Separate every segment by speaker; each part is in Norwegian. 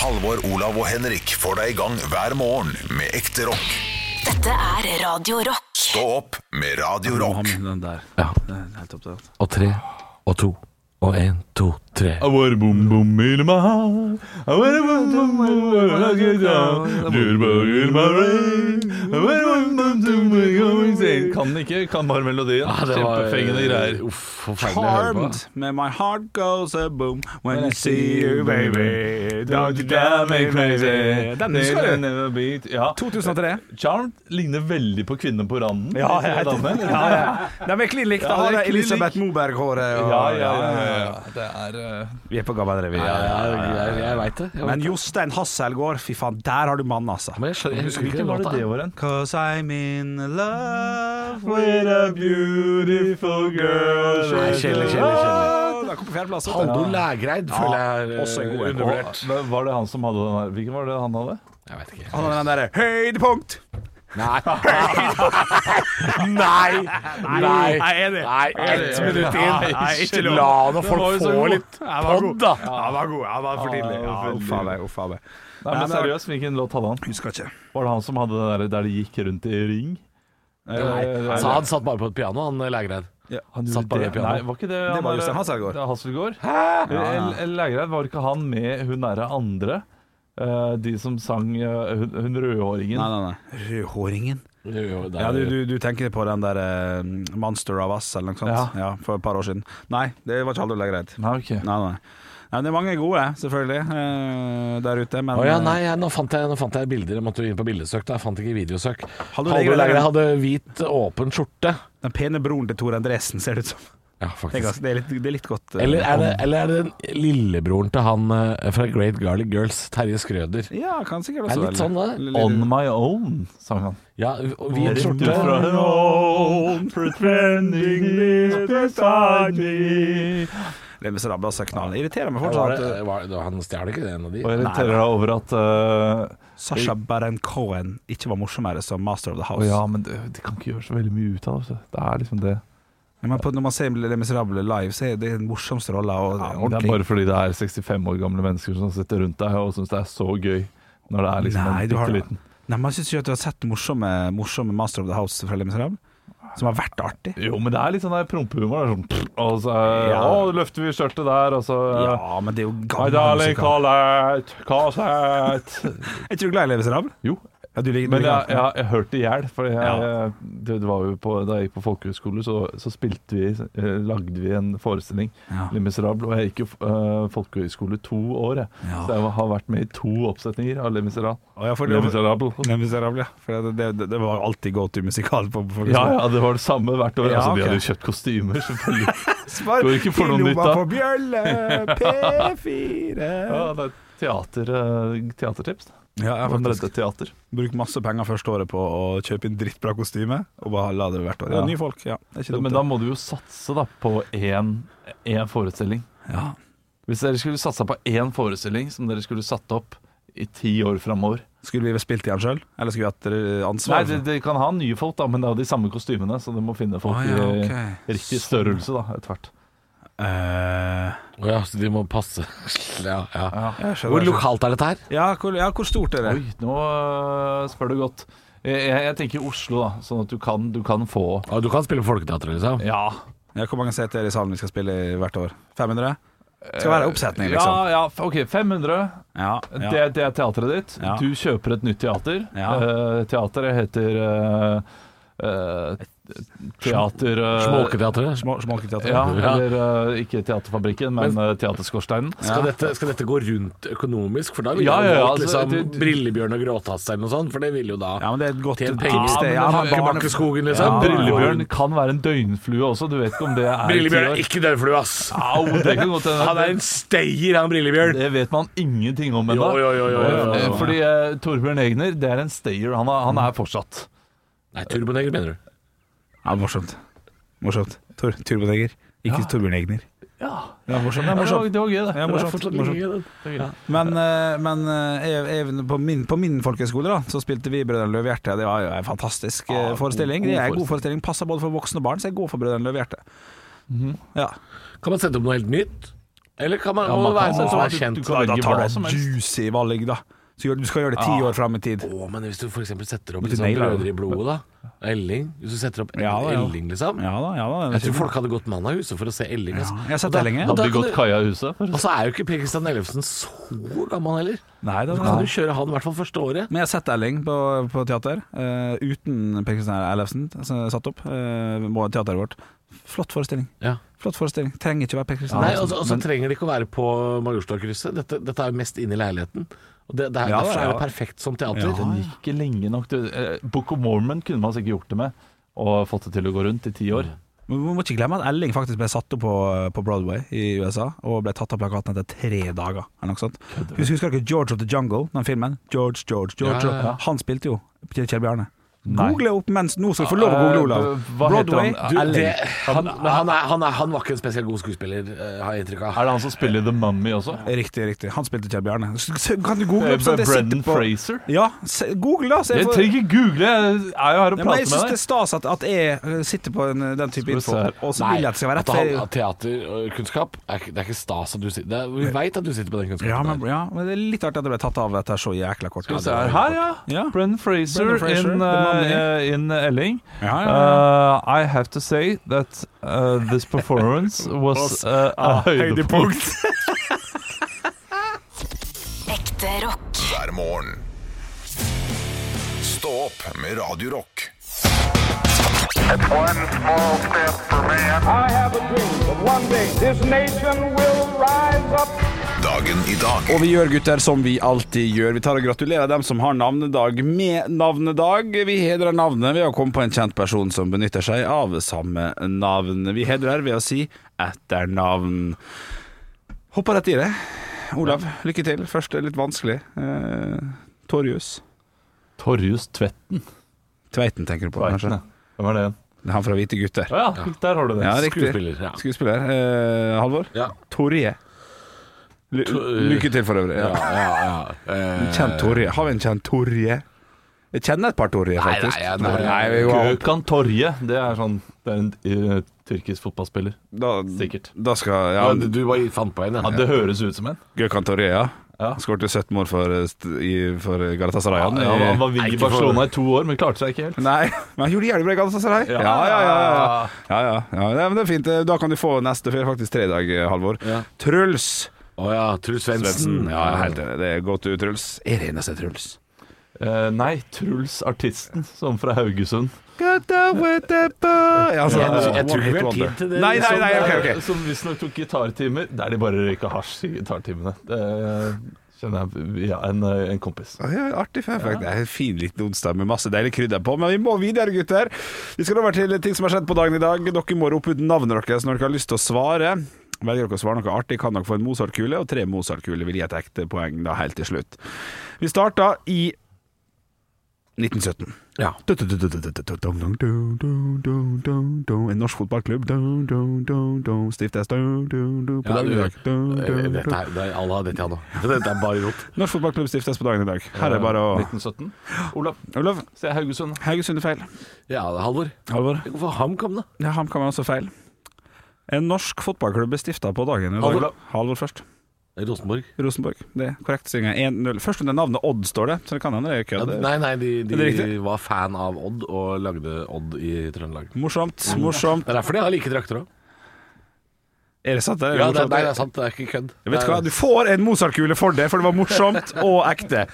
Speaker 1: Halvor, Olav og Henrik får deg i gang hver morgen med ekte rock.
Speaker 2: Dette er Radio Rock.
Speaker 1: Stå opp med Radio
Speaker 3: Må ha
Speaker 1: Rock.
Speaker 3: med den der.
Speaker 4: Ja.
Speaker 3: Det er helt opptatt.
Speaker 4: og tre og to og en, to, tre.
Speaker 5: Our boom boom in my heart. Our boom boom boom I get down. Your boom in my brain. Our boom boom boom boom going down. Kan ikke, kan bare melodien.
Speaker 3: eh,
Speaker 5: Kjempefengende greier.
Speaker 4: Uff, forferdelig å høre på.
Speaker 3: Harmed med my heart goes a boom when I see you,
Speaker 5: You
Speaker 3: baby.
Speaker 5: baby, don't you drive me crazy.
Speaker 3: Den husker du.
Speaker 5: They'll never beat- Ja.
Speaker 3: 2003.
Speaker 5: Charmed ligner veldig på Kvinnen på randen.
Speaker 3: Ja, jeg vet
Speaker 5: Ikke det,
Speaker 3: det.
Speaker 5: Danne?
Speaker 3: Ja, ja. De er klin like. Da
Speaker 5: Ja,
Speaker 3: har
Speaker 5: det er
Speaker 3: de
Speaker 5: klin lik.
Speaker 3: Elisabeth Moberg-håret. og-
Speaker 5: Ja, ja, ja, ja, ja. Det er eh,
Speaker 3: Vi er på Gammel Revy.
Speaker 4: Ja, ja, jeg jeg veit det. Jeg vet
Speaker 3: Men
Speaker 4: det.
Speaker 3: Jostein Hasselgaard, fy faen, der har du mannen, altså.
Speaker 4: Men jeg skjønner, jeg husker ikke
Speaker 5: Hvilken var det
Speaker 4: låta.
Speaker 5: det var hen?
Speaker 3: Cause I'm in love
Speaker 5: With a beautiful girl
Speaker 3: Nei, kjedelig, kjedelig, kjedelig.
Speaker 4: Halvor Lægreid føler jeg er
Speaker 3: også en
Speaker 4: eh,
Speaker 3: god en.
Speaker 4: undervurdert.
Speaker 5: Men Var det han som hadde den her? Hvilken var det han hadde?
Speaker 4: Jeg vet ikke.
Speaker 3: Han har den derre høydepunkt!
Speaker 4: Nei. Nei. Nei.
Speaker 3: Nei, jeg er enig.
Speaker 4: Nei, ett minutt inn.
Speaker 3: Nei, nei, ikke lov.
Speaker 4: La nå folk
Speaker 3: så
Speaker 4: få
Speaker 3: god.
Speaker 4: litt pod, da.
Speaker 3: Han var god. Han var for tidlig.
Speaker 5: Ja,
Speaker 3: Ja,
Speaker 5: veldig
Speaker 3: uff a meg, uff a meg.
Speaker 5: Nei,
Speaker 3: Nei,
Speaker 5: men
Speaker 3: men-
Speaker 5: seriøst, hvilken låt hadde han?
Speaker 3: Husker ikke.
Speaker 5: Var det han som hadde den der, der de gikk rundt i ring? Eh,
Speaker 4: Nei. Så han satt bare på et piano, han Lægreid.
Speaker 5: Han
Speaker 4: Satt bare ved pianoet.
Speaker 5: Nei, var ikke det,
Speaker 3: Det
Speaker 5: han
Speaker 3: var
Speaker 5: der-
Speaker 3: Jostein Hasselgaard.
Speaker 5: Ja, Hasselgaard. Eller- eller Lægreid, var ikke han med hun derre andre? Eh, de som sang eh, hun, hun rødhåringen.
Speaker 3: Nei, nei, nei. Rødhåringen.
Speaker 4: Ja,
Speaker 3: Ja, du, du, du tenker på den der eh, Monster of Us eller noe sånt? Ja.
Speaker 5: Ja.
Speaker 3: For et par år siden. Nei, det var ikke alle greit. Nei,
Speaker 5: Nei, ok.
Speaker 3: nei. nei, det er mange gode, selvfølgelig, eh, der ute, men
Speaker 4: Å ja, nei, jeg, nå, fant jeg, nå fant jeg bilder. Jeg måtte jo inn på bildesøk. Da. Jeg fant ikke videosøk.
Speaker 3: Halvor
Speaker 4: Halvor
Speaker 3: Legre-
Speaker 4: Legre hadde hvit, åpen skjorte.
Speaker 3: eh, den pene broren til Tor Andresen ser det ut som.
Speaker 4: Ja,
Speaker 3: Det er,
Speaker 4: faktisk.
Speaker 3: ganske, det er, litt, det er litt godt. eh,
Speaker 4: Eller er, det, eller er det den lillebroren til han eh, fra Great Garlic Girls, Terje Skrøder?
Speaker 3: Ja, kan sikkert
Speaker 4: Det
Speaker 3: også
Speaker 4: er litt sånn, det.
Speaker 3: Litt-
Speaker 5: On my own, sang han.
Speaker 4: Ja, og hvit
Speaker 5: Rett ut
Speaker 4: skjorte.
Speaker 5: fra en old pretending lives beside me.
Speaker 3: Litt med Sarabia også er knall. Irriterer meg
Speaker 4: Var
Speaker 3: fortsatt.
Speaker 4: det,
Speaker 3: at,
Speaker 4: var, det- han stjal ikke det, en av de?
Speaker 5: Og jeg irriterer deg over at eh,
Speaker 3: eh, Sasha Baron Cohen ikke var morsommere som Master of the House.
Speaker 5: Å ja, men det, de kan ikke gjøre så veldig mye ut av det. vet du. Det er liksom det.
Speaker 3: Ja, Men på, når man ser Les Miserable live, så er det den morsomste rolla. og
Speaker 5: det er
Speaker 3: ordentlig.
Speaker 5: bare fordi det er 65 år gamle mennesker som sitter rundt deg og syns det er så gøy. Når det er liksom
Speaker 3: Nei,
Speaker 5: en
Speaker 3: du har-
Speaker 5: bitte liten
Speaker 3: Nei, men jeg syns ikke at du har sett morsomme, morsomme Master of the House fra Les Miserable, som har vært artig.
Speaker 5: Jo, men det er litt sånn der prompehumor. det er Sånn, pff, og så
Speaker 3: Ja.
Speaker 5: Å, løfter vi skjørtet der, og så
Speaker 3: Ja, men det er jo
Speaker 5: My
Speaker 3: gammel musikal.
Speaker 5: darling, Collette, Collette.
Speaker 3: Er ikke du glad i Les Miserable?
Speaker 5: Jo.
Speaker 3: Ja, du liker, du
Speaker 5: Men jeg,
Speaker 3: liker
Speaker 5: jeg, jeg hørte i hjel, for jeg,
Speaker 3: Ja.
Speaker 5: det, det var jo på, da jeg gikk på folkehøyskole, så, så spilte vi, eh, lagde vi en forestilling,
Speaker 3: Ja.
Speaker 5: Les Misérables, og jeg gikk jo eh, folkehøyskole to år, jeg.
Speaker 3: Ja.
Speaker 5: så jeg har vært med i to oppsetninger av Les Misérables.
Speaker 3: Å, ja, for
Speaker 5: Les
Speaker 3: det,
Speaker 5: Misérables.
Speaker 3: Les Miserable, ja. For det, det, det var alltid go to musikal på på-
Speaker 5: Ja, ja, det var det samme hvert år.
Speaker 3: Ja,
Speaker 5: altså,
Speaker 3: ok.
Speaker 5: De hadde jo kjøpt kostymer, selvfølgelig.
Speaker 3: Spar
Speaker 5: Går ikke for noe nytt,
Speaker 3: lomma
Speaker 5: da.
Speaker 3: på bjølle, P4
Speaker 5: Ja, det er teater, eh, teatertips.
Speaker 3: Ja, jeg har faktisk
Speaker 5: Bredde teater.
Speaker 3: brukt masse penger første året på å kjøpe inn drittbra kostyme, og bare la det hvert år. Ja,
Speaker 5: Ja.
Speaker 3: nye folk, ja. Det er ikke dumt.
Speaker 5: Men da må du jo satse da, på én én forestilling.
Speaker 3: det. ja.
Speaker 5: Hvis dere skulle satsa på én forestilling som dere skulle satt opp i ti år framover
Speaker 3: Skulle vi spilt i den sjøl, eller skulle vi hatt eh,
Speaker 5: Nei,
Speaker 3: ansvar?
Speaker 5: de, de kan ha nye folk, da, men det er jo de samme kostymene, så du må finne folk
Speaker 3: Ah, ja, ok. Sånn.
Speaker 5: i riktig størrelse da, etter hvert.
Speaker 3: Eh,
Speaker 4: Å ja, så de må passe. Ja, ja.
Speaker 3: jeg skjønner,
Speaker 4: Hvor
Speaker 3: jeg skjønner.
Speaker 4: lokalt er dette her?
Speaker 3: Ja, hvor, ja, hvor stort er det?
Speaker 5: Oi, nå øh, spør du godt. Jeg, jeg, jeg tenker Oslo, da, sånn at du kan, du kan få
Speaker 4: Å, du kan spille på Folketeatret, liksom?
Speaker 5: Ja.
Speaker 3: Ja, hvor mange seter i salen vi skal spille i hvert år? 500? Skal være oppsetning,
Speaker 5: Eh, Ja,
Speaker 3: liksom.
Speaker 5: ja, f- OK. 500.
Speaker 3: Ja, ja.
Speaker 5: Det, det er teateret ditt.
Speaker 3: Ja.
Speaker 5: Du kjøper et nytt teater.
Speaker 3: Ja.
Speaker 5: Eh, teateret heter eh, eh, Teater eh,
Speaker 4: Småketeatret?
Speaker 3: Små- Småketeater.
Speaker 5: Ja,
Speaker 4: Ja.
Speaker 5: eller eh, ikke Teaterfabrikken, men, eh, Teaterskorsteinen.
Speaker 4: Skal, dette, skal dette gå rundt økonomisk? For da ville
Speaker 5: Ja,
Speaker 4: jeg
Speaker 5: ja, ja,
Speaker 4: valgt
Speaker 5: altså,
Speaker 4: liksom,
Speaker 5: det-
Speaker 4: Brillebjørn og Gråtass eller noe sånt, for det ville jo da
Speaker 3: Ja, men det er et godt
Speaker 4: Tjent
Speaker 3: tips,
Speaker 4: penger.
Speaker 3: det.
Speaker 5: Ja,
Speaker 3: Ja,
Speaker 5: men
Speaker 3: men
Speaker 5: det-
Speaker 3: barn-
Speaker 4: Bakkeskogen, liksom.
Speaker 3: Ja,
Speaker 5: Brillebjørn kan være en døgnflue også, du vet ikke om det er
Speaker 4: Brillebjørn er
Speaker 5: ti år.
Speaker 4: ikke dørflue, ass!
Speaker 5: Au, det kan godt hende.
Speaker 4: Han er en stayer, han Brillebjørn.
Speaker 5: Det vet man ingenting om ennå.
Speaker 4: Jo, jo, jo, jo, jo, jo.
Speaker 5: Eh, Fordi eh, Torbjørn Egner, det er en stayer. Han er, han er fortsatt.
Speaker 4: Nei, Turboneger, mener du?
Speaker 3: Ja, morsomt. Morsomt. Tor, Turboneger. Ikke Torbjørn Egner.
Speaker 5: Ja,
Speaker 3: Det er morsomt. Det er
Speaker 5: det var,
Speaker 3: morsomt.
Speaker 5: det var gøy, det.
Speaker 3: Ja, morsomt, morsomt. Men, eh, men eh, jeg, jeg, på, min, på min folkehøyskole da, så spilte vi Brødrene Løvhjerte. Det var jo en fantastisk eh,
Speaker 5: god-
Speaker 3: forestilling.
Speaker 5: god
Speaker 3: Det er en god forestilling. Passer Mhm. både for voksne og barn, så jeg går for Brødrene Løvhjerte. Ja.
Speaker 4: Kan man sette opp noe helt nytt? Eller kan man,
Speaker 5: Ja,
Speaker 4: må
Speaker 5: man
Speaker 4: det være
Speaker 5: kan-
Speaker 4: sånn som er
Speaker 5: du-
Speaker 4: kjent
Speaker 5: du kan-
Speaker 3: Da
Speaker 5: Velge
Speaker 3: tar
Speaker 5: hva
Speaker 3: du
Speaker 5: som
Speaker 3: et
Speaker 5: helst.
Speaker 3: juicy valg, da. Så gjør- Du skal gjøre det
Speaker 4: Ah.
Speaker 3: ti år fram i tid.
Speaker 4: Å, men hvis du for eksempel setter opp
Speaker 3: Men til
Speaker 4: liksom,
Speaker 3: negler, da.
Speaker 4: brødre i blodet, da. Elling. Hvis du setter opp
Speaker 3: Ja, da, ja.
Speaker 4: Elling, liksom.
Speaker 3: Ja da, ja da. den er
Speaker 4: Jeg tror
Speaker 3: fin.
Speaker 4: folk hadde gått mann av huset for å se Elling. Altså.
Speaker 3: Ja, jeg har sett
Speaker 4: Og da-
Speaker 3: Elling, jeg.
Speaker 4: og da
Speaker 5: Hadde de
Speaker 4: kan
Speaker 5: gått
Speaker 4: du-
Speaker 5: kaia i huset? For
Speaker 4: Og så er jo ikke Per Kristian Ellefsen så gammel heller.
Speaker 3: Nei, da,
Speaker 4: Du
Speaker 3: da.
Speaker 4: kan jo kjøre han i hvert fall første året.
Speaker 3: Men jeg har sett Elling på, på teater, eh, uten Per Kristian Ellefsen altså, satt opp. eh, må teateret vårt. Flott forestilling.
Speaker 4: Ja.
Speaker 3: Flott forestilling. Trenger ikke være Per Kristian
Speaker 4: Nei,
Speaker 3: Ellefsen.
Speaker 4: og så- og så
Speaker 3: men-
Speaker 4: trenger det ikke å være på Majorstua-krysset. Dette, dette er jo mest inne i leiligheten. Og det, det er,
Speaker 3: Ja,
Speaker 4: derfor er
Speaker 3: ja.
Speaker 4: det perfekt som teater.
Speaker 5: den gikk ikke lenge nok. Du, eh, Book of Mormon kunne man sikkert gjort det med, og fått det til å gå rundt i ti år.
Speaker 3: Men Vi må ikke glemme at Elling faktisk ble satt opp på, eh, på Broadway i USA, og ble tatt av plakaten etter tre dager. Eller noe sånt. Husker, husker dere George of the Jungle, den filmen? George, George, George.
Speaker 4: Ja, ja, ja.
Speaker 3: Han spilte jo Kjell Kjell Bjarne.
Speaker 5: Nei.
Speaker 3: Google opp mens Nå skal du få lov å google,
Speaker 5: Eh,
Speaker 3: Olav.
Speaker 5: hva heter
Speaker 3: Broadway,
Speaker 5: han?
Speaker 4: Du,
Speaker 3: Elling.
Speaker 4: det, han, men han, er, han, er, han var ikke en spesielt god skuespiller, eh, har jeg inntrykk av.
Speaker 5: Er det han som spiller The Mummy også?
Speaker 3: Riktig, riktig. Han spilte Kjell Bjarne. Så- så Kan du google
Speaker 5: Eh,
Speaker 3: opp? sånn at jeg sitter
Speaker 5: Brendan
Speaker 3: på-
Speaker 5: Fraser?
Speaker 3: Ja, se- google da. Så jeg
Speaker 5: Jeg
Speaker 3: får,
Speaker 5: trenger ikke google, jeg er jo her og
Speaker 3: ja, men jeg
Speaker 5: prater
Speaker 3: syns det
Speaker 5: med
Speaker 3: er
Speaker 5: deg.
Speaker 3: stas at, at jeg eh, sitter på en, den type
Speaker 5: Skal vi
Speaker 3: info,
Speaker 5: se her.
Speaker 3: og så vil jeg at det skal være rett.
Speaker 4: at
Speaker 3: for
Speaker 4: han
Speaker 3: jeg-
Speaker 4: har teaterkunnskap, er, ikke- det er ikke stas at du sitter det er, Vi veit at du sitter på den kunnskapen.
Speaker 3: Ja men,
Speaker 4: der.
Speaker 3: ja, men det er litt artig at det ble tatt av dette så jækla kort.
Speaker 5: Skal vi se her. Her, ja.
Speaker 3: Ja.
Speaker 5: Brendan Fraser,
Speaker 3: Brendan Fraser,
Speaker 5: in,
Speaker 3: The Mummy.
Speaker 5: eh, in Elling.
Speaker 3: Ja, ja, ja.
Speaker 5: Uh, I have to say that uh, this performance was uh, a høydepunkt.
Speaker 2: Ekte rock.
Speaker 1: hver morgen. Stå opp med Radio Rock.
Speaker 6: One small step for man.
Speaker 7: I have a dream that one day this nation will rise up.
Speaker 1: Dagen i dag.
Speaker 3: Og vi gjør gutter som vi alltid gjør. Vi tar og gratulerer dem som har navnedag med navnedag. Vi hedrer navnet ved å komme på en kjent person som benytter seg av samme navn. Vi hedrer ved å si etternavn. Hopper rett i det. Olav, lykke til. Først er det litt vanskelig. Eh, Torjus.
Speaker 5: Torjus Tvetten.
Speaker 3: Tveiten tenker du på,
Speaker 5: Tveiten,
Speaker 3: kanskje?
Speaker 5: ja. Hvem er det igjen?
Speaker 3: Det er Han fra Hvite gutter.
Speaker 5: Å ja, der har du det.
Speaker 3: Ja, riktig.
Speaker 4: Skuespiller. Ja.
Speaker 3: Skuespiller. Eh, Halvor?
Speaker 4: Ja.
Speaker 3: Torje. Ly- Lykke til for øvrig. Ja.
Speaker 4: Ja, ja, ja. Eh,
Speaker 3: Kjent Torje. Har vi en kjent Torje? Jeg kjenner et par Torje,
Speaker 4: nei,
Speaker 3: faktisk.
Speaker 4: jeg-
Speaker 3: nei,
Speaker 4: Torje-
Speaker 3: vi var-
Speaker 5: Gökhan Torje. Det er sånn Det er en eh, tyrkisk fotballspiller.
Speaker 3: da,
Speaker 5: Sikkert.
Speaker 3: da skal ja,
Speaker 4: ja, du- du bare fant på en, ja.
Speaker 5: Ja, det høres ut som en.
Speaker 3: Gökhan Torje, ja.
Speaker 5: Ja.
Speaker 3: Skårte 17 mål for, eh, st- i- for Galatasaray.
Speaker 5: Ja, han var
Speaker 4: Nei,
Speaker 5: ving i
Speaker 4: ikke for-
Speaker 5: Barcelona i to år, men klarte seg ikke helt.
Speaker 3: Nei, men han gjorde det jævlig bra i Galatasaray. Ja, ja, ja. ja, ja, ja, ja. Det, men det er fint. Eh, Da kan du få neste, for jeg har faktisk tre i dag, eh, Halvor.
Speaker 4: Ja.
Speaker 3: Truls
Speaker 4: Å ja, Truls Svendsen.
Speaker 3: Svendsen. Ja, jeg er helt enig. Det er godt du, Truls. Er det eneste Truls?
Speaker 5: Eh, nei, Truls Artisten, som fra Haugesund.
Speaker 3: Got out with the boy. Ja, altså,
Speaker 4: Jeg- jeg tror
Speaker 3: one
Speaker 4: ikke vi
Speaker 3: hit
Speaker 4: har
Speaker 3: wonder.
Speaker 4: tid til det,
Speaker 3: Nei, nei,
Speaker 4: liksom.
Speaker 3: nei, ok, ok.
Speaker 5: Eh, Som visstnok tok gitartimer. Der de bare røyka hasj i gitartimene. Det eh, kjenner jeg via en, eh, en kompis.
Speaker 3: Ja, artig fun fact. Det er en fin liten onsdag med masse deilig krydder på. Men vi må videre, gutter. Vi skal over til ting som har skjedd på dagen i dag. Dere må rope ut navnet deres når dere har lyst til å svare. Velger dere å svare noe artig, kan dere få en Mozart-kule, og tre Mozart-kuler vil gi et ekte poeng da helt til slutt. Vi starta i 1917.
Speaker 4: Ja.
Speaker 3: En norsk fotballklubb stiftes på
Speaker 4: Ja,
Speaker 3: dagen
Speaker 4: du,
Speaker 3: i
Speaker 4: eh,
Speaker 3: dag.
Speaker 4: dette er, det er, alle har dette, ja, nå. Dette er bare rot.
Speaker 3: Norsk fotballklubb stiftes på dagen i dag. Her er bare å
Speaker 5: 1917. Olav,
Speaker 3: Olav,
Speaker 5: se Haugesund.
Speaker 3: Haugesund er feil.
Speaker 4: Ja, Halvor.
Speaker 3: Halvor?
Speaker 4: Hvorfor HamKam, da?
Speaker 3: Ja, ham kan man også feil. En norsk fotballklubb ble stifta på dagen i dag.
Speaker 4: Halvor.
Speaker 3: Halvor først.
Speaker 4: Rosenborg.
Speaker 3: Rosenborg. Det er korrekt stillinga 1-0. Først under navnet Odd står det, så det kan hende det er
Speaker 4: Ja,
Speaker 3: kødd.
Speaker 4: nei, nei, de,
Speaker 3: Er det
Speaker 4: de
Speaker 3: riktig?
Speaker 4: var fan av Odd og lagde Odd i Trøndelag.
Speaker 3: Morsomt, morsomt.
Speaker 4: Det er derfor de har like drakter òg.
Speaker 3: Er det sant? det? Er det
Speaker 4: Ja, det,
Speaker 3: morsomt?
Speaker 4: nei, det er sant, det er ikke kødd.
Speaker 3: Jeg vet
Speaker 4: Det
Speaker 3: hva,
Speaker 4: er-
Speaker 3: Du får en Mozart-kule for det, for det var morsomt og ekte.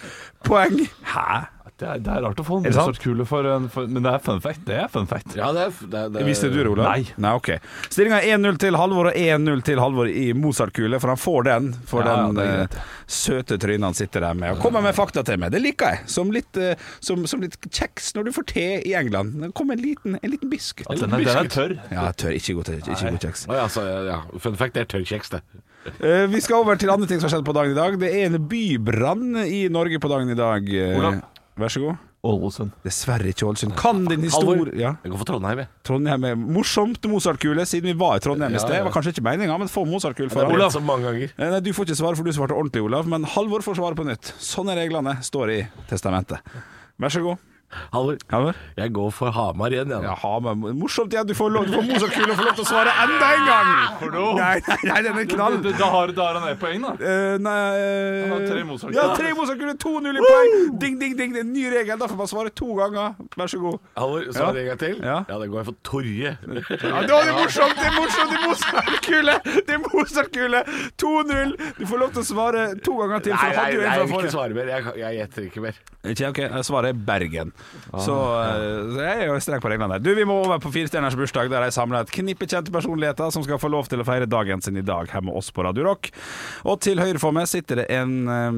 Speaker 3: Poeng. Hæ?
Speaker 5: Det er, det er rart å få en
Speaker 3: Er det sant?
Speaker 5: Mozart-kule for en for, Men det er fun fact. Det er fun fact.
Speaker 4: Ja, det er, det er, det
Speaker 3: Eh,
Speaker 4: er
Speaker 3: Visste du det, Olav?
Speaker 5: Nei.
Speaker 3: Nei ok. Stillinga er 1-0 til Halvor og 1-0 til Halvor i Mozart-kule, for han får den for
Speaker 5: Ja, ja,
Speaker 3: den
Speaker 5: det er greit,
Speaker 3: eh, søte trynet han sitter der med. Og kommer med fakta til meg, det liker jeg. Som litt, eh, som, som litt kjeks når du får te i England. Kom en liten, en liten biskuit.
Speaker 5: Den er, den er tørr.
Speaker 3: Ja, tør. Ikke god, te- ikke god kjeks.
Speaker 4: Å, ja, så, ja. Fun fact, det er tørrkjeks, det.
Speaker 3: Eh, vi skal over til andre ting som har skjedd på dagen i dag. Det er en bybrann i Norge på dagen i dag. Eh,
Speaker 5: Olav.
Speaker 3: Vær så god.
Speaker 5: Ålesund.
Speaker 3: Dessverre ikke Ålesund. Kan din
Speaker 4: Halvor.
Speaker 3: historie ja.
Speaker 4: Jeg går for Trondheim, jeg.
Speaker 3: Trondheim er morsomt Mozart-kule, siden vi var i Trondheim i
Speaker 4: Ja,
Speaker 3: sted.
Speaker 4: ja.
Speaker 3: Det var kanskje ikke meninga, men få Mozart-kule
Speaker 4: Det
Speaker 3: for
Speaker 4: er
Speaker 3: ham.
Speaker 4: brent så mange ganger.
Speaker 3: Nei, nei, du får ikke svare, for du svarte ordentlig, Olav. Men Halvor får svare på nytt. Sånn er reglene, står det i testamentet. Vær så god.
Speaker 4: Halvor,
Speaker 3: Halvor?
Speaker 4: jeg går for Hamar igjen, jeg.
Speaker 3: Jaha, men morsomt igjen. Du får lov, du får Mozart-kule og får lov til å svare enda en gang! Nei, nei, nei, den er knall.
Speaker 5: Da har, da har han ett poeng, da.
Speaker 3: Eh, nei eh,
Speaker 5: Han har tre Mozart-kuler.
Speaker 3: Ja, tre Mozart-kuler, 2-0 i poeng! Ding, ding, ding. Det er en ny regel. Da får man svare to ganger. Vær så god.
Speaker 4: Halvor,
Speaker 3: Ja.
Speaker 4: svar en gang til.
Speaker 3: Ja.
Speaker 4: da går jeg for Torje.
Speaker 3: Ja, det er morsomt! Det er morsomt! Det er Mozart-kule! Det er Mozart-kule! 2-0. Du får lov til å svare to ganger til.
Speaker 4: Nei,
Speaker 3: For
Speaker 4: nei,
Speaker 3: hadde du en
Speaker 4: nei,
Speaker 3: fra
Speaker 4: jeg vil ikke
Speaker 3: forrige
Speaker 4: svare mer. Jeg, jeg gjetter ikke mer.
Speaker 3: Ikke, ok, jeg svarer Bergen. Så eh, så jeg er jo streng på reglene der. Du, vi må over på firestjerners bursdag, der jeg samler et knippe kjente personligheter som skal få lov til å feire dagen sin i dag her med oss på Radio Rock. Og til høyre for meg sitter det en eh,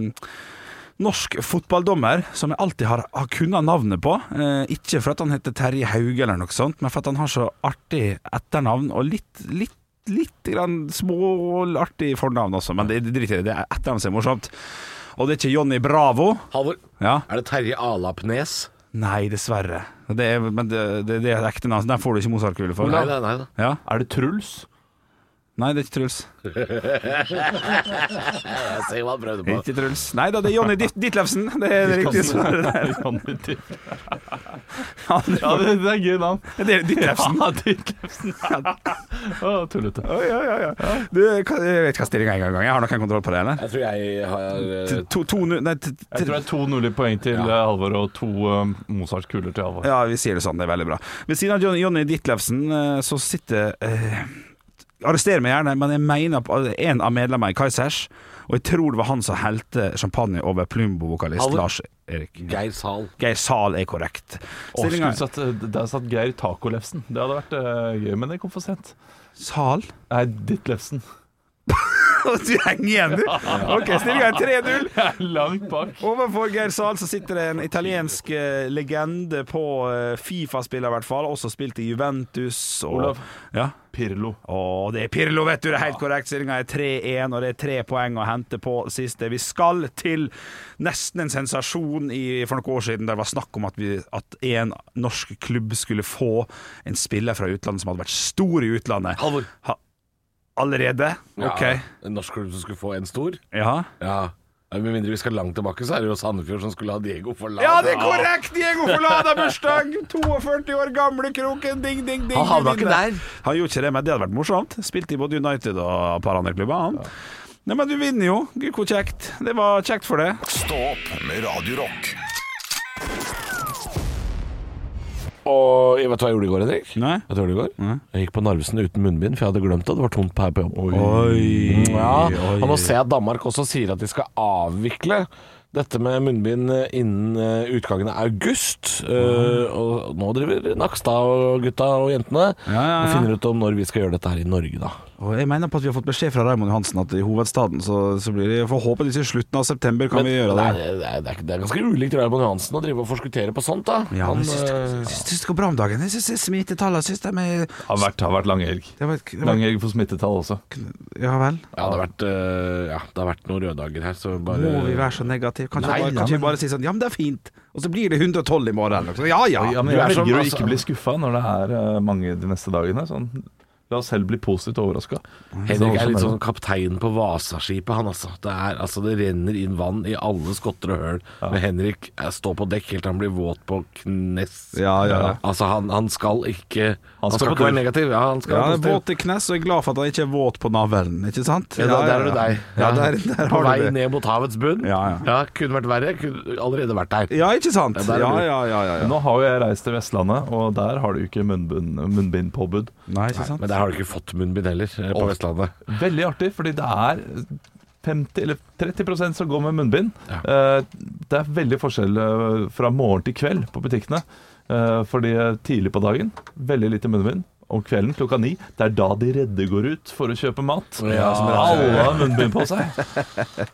Speaker 3: norsk fotballdommer som jeg alltid har, har kunnet navnet på. Eh, ikke for at han heter Terje Hauge eller noe sånt, men for at han har så artig etternavn og litt, litt Litt grann småartig fornavn også, men det det driter jeg i. Det er etternavn som er morsomt. Og det er ikke Johnny Bravo.
Speaker 4: Halvor,
Speaker 3: Ja.
Speaker 4: er det Terje Alapnes?
Speaker 3: Nei, dessverre. Det er, men det, det, det er ekte navn. så Den får du ikke Mozart-kule for.
Speaker 4: Nei, nei, nei. da.
Speaker 3: Ja.
Speaker 5: Er det Truls?
Speaker 3: Nei, det er ikke Truls.
Speaker 4: Jeg ser hva han prøvde
Speaker 3: Det
Speaker 4: på.
Speaker 3: er ikke Truls. Nei da, det er Jonny Dit- Ditlevsen. Det er det riktige svaret.
Speaker 5: ja,
Speaker 3: Han-
Speaker 5: det, det er gøy navn.
Speaker 3: Det er Ditlevsen.
Speaker 5: Ja, Ditlevsen. Å, tullete.
Speaker 3: Oi, oi, oi, oi. Du, hva- jeg vet hva stillinga er engang. Jeg har nok en kontroll på det, eller?
Speaker 4: Jeg tror jeg har eh,
Speaker 3: T- To, to, nu- nei, t-
Speaker 5: Jeg tror det er to nuller poeng til eh, Halvor og to eh, Mozart-kuler til Halvor.
Speaker 3: Ja, vi sier det sånn. Det er veldig bra. Ved siden av Jon- Jonny Ditlevsen eh, så sitter eh, Arrester meg gjerne, men jeg mener at en av medlemmene i Kaizers Og jeg tror det var han som helte champagne over Plumbo-vokalist
Speaker 4: Halvor.
Speaker 3: Lars Erik.
Speaker 4: Geir Zahl.
Speaker 3: Geir Zahl er korrekt.
Speaker 5: Å,
Speaker 3: Stillinga
Speaker 5: skulle satt, der satt Geir Tacolefsen. Det hadde vært eh, gøy, men det kom for sent.
Speaker 3: Zahl?
Speaker 5: Nei, Ditlevsen.
Speaker 3: Du henger igjen, du! Ok, stillinga er 3-0.
Speaker 5: Jeg er langt bak.
Speaker 3: Overfor Geir Zahl så sitter det en italiensk eh, legende på eh, Fifa-spiller, i hvert fall. Også spilt i Juventus. Og,
Speaker 5: Olav.
Speaker 3: Ja.
Speaker 5: Pirlo.
Speaker 3: Å, det er Pirlo, vet du. Det er helt korrekt. Stillinga er 3-1, og det er tre poeng å hente på siste. Vi skal til nesten en sensasjon i, for noen år siden der det var snakk om at, vi, at en norsk klubb skulle få en spiller fra utlandet som hadde vært stor i utlandet.
Speaker 4: Halvor.
Speaker 3: Ha, allerede? Ok.
Speaker 4: Ja, en norsk klubb som skulle få en stor.
Speaker 3: Ja.
Speaker 4: Ja. Med mindre vi skal langt tilbake, så er det jo Sandefjord som skulle ha Diego Forlan.
Speaker 3: Ja, det er korrekt! Diego Forlada bursdag! 42 år gamle kroken. Ding, ding, ding.
Speaker 4: Han havna ikke
Speaker 3: vinner.
Speaker 4: der.
Speaker 3: Han gjorde ikke det, men det hadde vært morsomt. Spilte i både United og et par andre klubber. Han. Nei, men du vinner jo. Gud, hvor kjekt. Det var kjekt for det.
Speaker 1: Stå opp med Radio Rock.
Speaker 4: Og jeg vet du hva jeg gjorde i går, Henrik?
Speaker 3: Nei.
Speaker 4: Vet du hva jeg gjorde i går? Jeg gikk på Narvesen uten munnbind, for jeg hadde glemt det. Det var tomt på her på jobb.
Speaker 3: Oi,
Speaker 4: ja, Og nå ser jeg at Danmark også sier at de skal avvikle dette med munnbind innen eh, utgangen av august. Eh, og nå driver Nakstad og gutta og jentene
Speaker 3: ja, ja.
Speaker 4: og finner ut om når vi skal gjøre dette her i Norge, da.
Speaker 3: Og jeg mener på at vi har fått beskjed fra Raymond Johansen at i hovedstaden så, så blir det forhåpentligvis i slutten av september kan
Speaker 4: Men-
Speaker 3: vi gjøre
Speaker 4: men
Speaker 3: det.
Speaker 4: Det er, det er, det er, ikke- det er ganske ulikt Raymond Johansen å drive og forskuttere på sånt, da.
Speaker 3: Ja, men
Speaker 4: Han,
Speaker 3: jeg syns det,
Speaker 4: eh,
Speaker 3: jeg syns det går bra om dagen. Jeg syns smittetallene syns de er
Speaker 5: Har vært, har vært lang helg.
Speaker 3: det var- det var-
Speaker 5: Lang helg for smittetall også.
Speaker 3: Ja vel.
Speaker 4: ja, det har vært, eh, ja, det har vært noen røde dager her, så bare
Speaker 3: Må vi være så negative? Kan
Speaker 4: Nei,
Speaker 3: vi bare,
Speaker 4: ja,
Speaker 3: kanskje
Speaker 4: men-
Speaker 3: vi bare si sånn Ja, men det er fint. Og så blir det 112 i morgen. eller noe sånt. Ja, ja.
Speaker 5: Ja, men
Speaker 4: du er
Speaker 5: jeg
Speaker 4: som-
Speaker 5: velger å
Speaker 4: altså-
Speaker 5: ikke bli skuffa når det er eh, mange de neste dagene. Sånn. La oss heller bli positivt overraska.
Speaker 4: Henrik er litt sånn kaptein på Vasaskipet, han altså. Det, er, altså. det renner inn vann i alle skotter og høl. Men Henrik eh, står på dekk helt til han blir våt på knes.
Speaker 3: Ja, ja, ja.
Speaker 4: Altså, han, han skal ikke Han
Speaker 5: skal
Speaker 4: skal
Speaker 5: på
Speaker 4: ikke
Speaker 5: tur.
Speaker 4: være negativ. Ja, han skal
Speaker 3: Ja,
Speaker 4: være
Speaker 3: jeg er
Speaker 4: positiv.
Speaker 3: våt i knes og jeg er glad for at han ikke er våt på navlen, ikke sant?
Speaker 4: Ja, da- der er du deg.
Speaker 3: Ja, der, der
Speaker 4: på
Speaker 3: har
Speaker 4: vei
Speaker 3: du det.
Speaker 4: ned mot havets bunn.
Speaker 3: Ja, ja.
Speaker 4: Kunne vært verre. Kunne allerede vært der.
Speaker 3: Ja, ikke sant?
Speaker 4: Ja, der
Speaker 3: Ja,
Speaker 4: er
Speaker 3: ja,
Speaker 4: du.
Speaker 3: ja. ja, ja.
Speaker 5: Nå har jo jeg reist til Vestlandet, og der har du ikke munnbind- munnbindpåbud.
Speaker 3: Nei, ikke sant?
Speaker 4: Men der har du ikke fått munnbind heller, eh, på
Speaker 5: Og-
Speaker 4: Vestlandet.
Speaker 5: Veldig artig, fordi det er 50 eller 30 som går med munnbind. Eh, Det er veldig forskjell eh, fra morgen til kveld på butikkene. Eh, Fordi tidlig på dagen, veldig lite munnbind. Om kvelden klokka ni. Det er da de redde går ut for å kjøpe mat.
Speaker 4: Ja, som
Speaker 5: Alle har munnbind på seg.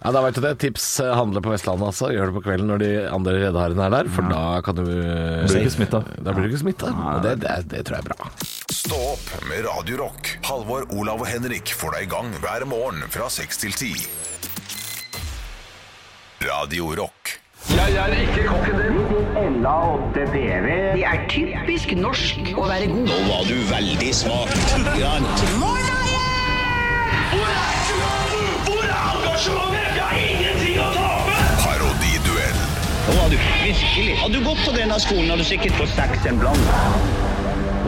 Speaker 4: Ja, da vet du det. Tips eh, handle på Vestlandet, altså. Gjør det på kvelden når de andre redeharene er der, for da kan du
Speaker 5: Blir ikke smittet.
Speaker 4: Da blir du ikke smitta. Det, det, det tror jeg er bra.
Speaker 1: Stå opp med Radio Rock. Halvor, Olav og Henrik får deg i gang hver morgen fra 6 til 10. Radio Rock.
Speaker 8: Det er typisk norsk å være god. Nå var du veldig smart.
Speaker 9: Hvor er engasjementet? Jeg har ingenting å tape!
Speaker 1: Parodiduell.
Speaker 8: Nå var du Virkelig. Hadde du gått på denne skolen, hadde du sikkert fått seks en blant.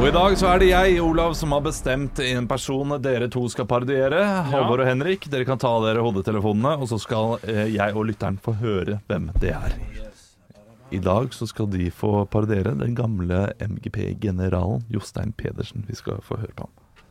Speaker 5: Og i dag så er det jeg, Olav, som har bestemt en person dere to skal parodiere. Halvor og Henrik, dere kan ta av dere hodetelefonene, og så skal eh, jeg og lytteren få høre hvem det er. I dag så skal de få parodiere den gamle MGP-generalen Jostein Pedersen. Vi skal få høre på ham.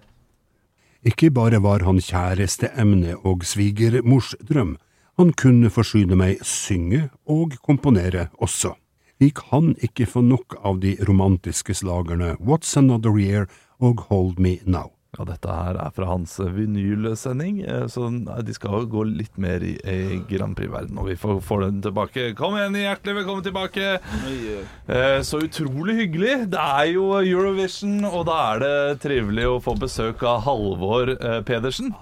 Speaker 9: Ikke bare var han kjæresteemne og svigermors drøm, han kunne forsyne meg synge og komponere også. Vi kan ikke få nok av de romantiske slagerne What's Another Year og Hold Me Now.
Speaker 5: Ja, dette her er fra hans vinylsending, eh, så nei, de skal jo gå litt mer i, i Grand Prix-verden, og vi får, får den tilbake. Kom igjen, hjertelig velkommen tilbake! Eh, Så utrolig hyggelig. Det er jo Eurovision, og da er det trivelig å få besøk av Halvor eh, Pedersen.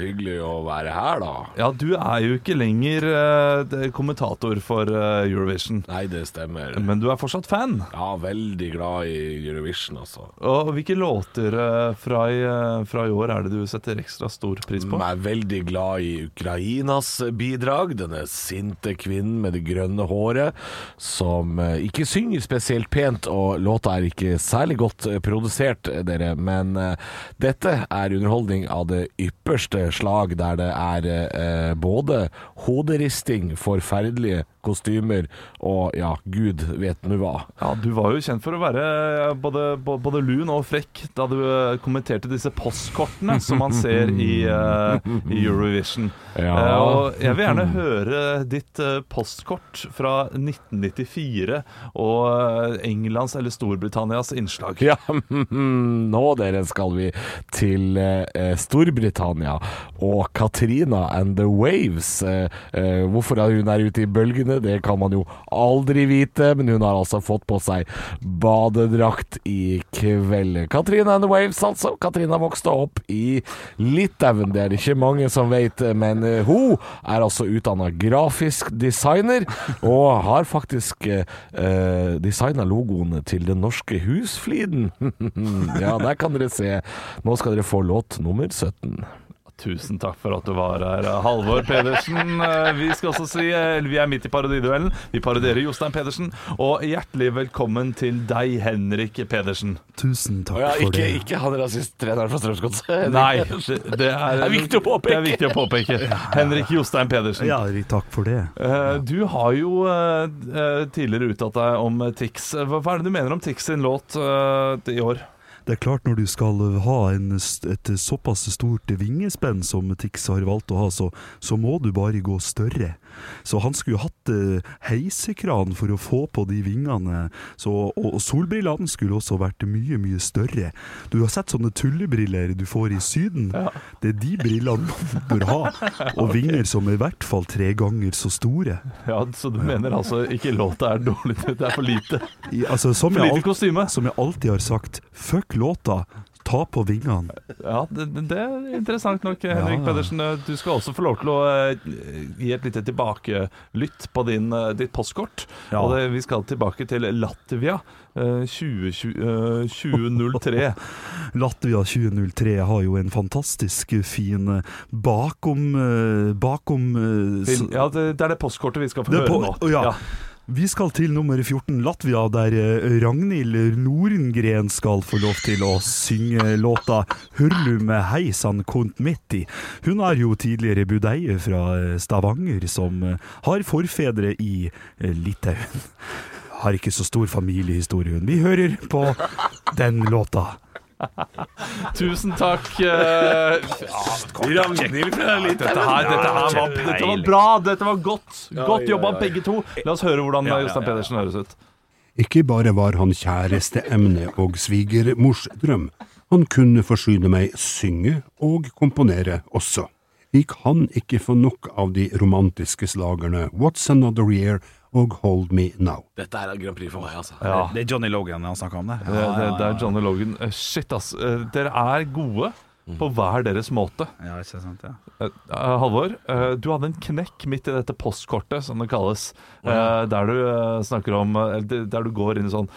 Speaker 4: hyggelig å være her, da.
Speaker 5: Ja, du er jo ikke lenger eh, det- kommentator for eh, Eurovision,
Speaker 4: Nei, det stemmer.
Speaker 5: men du er fortsatt fan.
Speaker 4: Ja, veldig glad i Eurovision, altså.
Speaker 5: Og hvilke låter eh, fra i, eh, fra i år er det du setter ekstra stor pris på?
Speaker 4: Jeg er veldig glad i Ukrainas bidrag. Denne sinte kvinnen med det grønne håret som eh, ikke synger spesielt pent, og låta er ikke særlig godt eh, produsert, eh, dere. Men eh, dette er underholdning av det ypperste slag, der det er eh, både hoderisting, forferdelige kostymer og ja, gud vet nå hva.
Speaker 5: Ja, Du var jo kjent for å være eh, både, bo- både lun og frekk da du eh, kommenterte disse postkortene som man ser i, eh, i Eurovision.
Speaker 4: Ja.
Speaker 5: Eh, og jeg vil gjerne høre ditt eh, postkort fra 1994 og eh, Englands eller Storbritannias innslag.
Speaker 4: Ja, nå dere skal vi til eh, Storbritannia og Katrina and the Waves. Eh, eh, hvorfor er hun er ute i bølgene, det kan man jo aldri vite, men hun har altså fått på seg badedrakt i kveld. Katrina and the Waves, altså. Katrina vokste opp i Litauen, det er det ikke mange som vet, men eh, hun er altså utdanna grafisk designer, og har faktisk eh, eh, designa logoen til den norske husfliden. ja, der kan dere se. Nå skal dere få låt nummer 17.
Speaker 5: Tusen takk for at du var her, eh, Halvor Pedersen. Eh, Vi skal også si, eh, vi er midt i parodiduellen. Vi parodierer Jostein Pedersen. Og hjertelig velkommen til deg, Henrik Pedersen.
Speaker 3: Tusen takk
Speaker 4: Ja,
Speaker 3: for
Speaker 4: ikke,
Speaker 3: det.
Speaker 4: ikke han rasisttreneren fra Strømsgodset.
Speaker 5: Nei, det, det, er,
Speaker 4: Det er viktig å påpeke.
Speaker 5: Det er viktig å påpeke. Henrik Jostein Pedersen.
Speaker 3: Ja, takk for det.
Speaker 5: Eh, du har jo eh, eh, tidligere uttalt deg om eh, Tix. Hva, hva er det du mener om Tix sin låt eh, i år?
Speaker 3: Det er klart når du skal ha en, st- et såpass stort vingespenn som Tix har valgt å ha, så, så må du bare gå større. Så han skulle hatt eh, heisekran for å få på de vingene, så, og, og solbrillene skulle også vært mye, mye større. Du har sett sånne tullebriller du får i Syden. Det er de brillene man bør ha, og vinger som er i hvert fall tre ganger så store.
Speaker 5: Ja, Så du mener altså ikke låta er dårlig, det er for lite?
Speaker 3: I, altså, som
Speaker 5: For
Speaker 3: jeg
Speaker 5: lite
Speaker 3: alt-
Speaker 5: kostyme?
Speaker 3: Som jeg alltid har sagt, fuck låta, ta på vingene.
Speaker 5: Ja, det, det- det er interessant nok, Henrik
Speaker 3: Ja.
Speaker 5: Pedersen. Eh, Du skal også få lov til å eh, gi et lite tilbakelytt på din, eh, ditt postkort.
Speaker 3: Ja.
Speaker 5: Og det, vi skal tilbake til Latvia eh, 20, eh, 2003.
Speaker 3: Latvia 2003 har jo en fantastisk fin eh, bakom eh, bakom eh, s-
Speaker 5: Til, ja, det, det er det postkortet vi skal få
Speaker 3: Det er
Speaker 5: høre
Speaker 3: på-
Speaker 5: nå.
Speaker 3: å, ja. Vi skal til nummer 14, Latvia, der eh, Ragnhild Norengren skal få lov til å synge låta 'Hurlu med heisan kont mitti'. Hun er jo tidligere budeie fra eh, Stavanger, som eh, har forfedre i eh, Litauen. Har ikke så stor familiehistorie, hun. Vi hører på den låta.
Speaker 5: Tusen takk. eh, Ragnhild fra Litauen. Dette, her- dette, her var- dette var bra. Dette var godt. Godt jobba, begge to. La oss høre hvordan eh, Jostein Pedersen høres ut.
Speaker 9: Ikke bare var han kjæresteemne og svigermors drøm, han kunne forsyne meg synge og komponere også. Vi kan ikke få nok av de romantiske slagerne What's Another Year og Hold Me Now.
Speaker 4: Dette er Grand Prix for meg, altså.
Speaker 3: Det er Johnny Logan han snakker om det.
Speaker 5: Det, det, det er Johnny Logan. Eh, Shit, ass. Eh, Dere er gode på hver deres måte.
Speaker 3: Ja, ikke sant, ja.
Speaker 5: Eh, eh, Halvor, eh, du hadde en knekk midt i dette postkortet, som det kalles. eh, Der du eh, snakker om eh, eller det- Der du går inn i sånn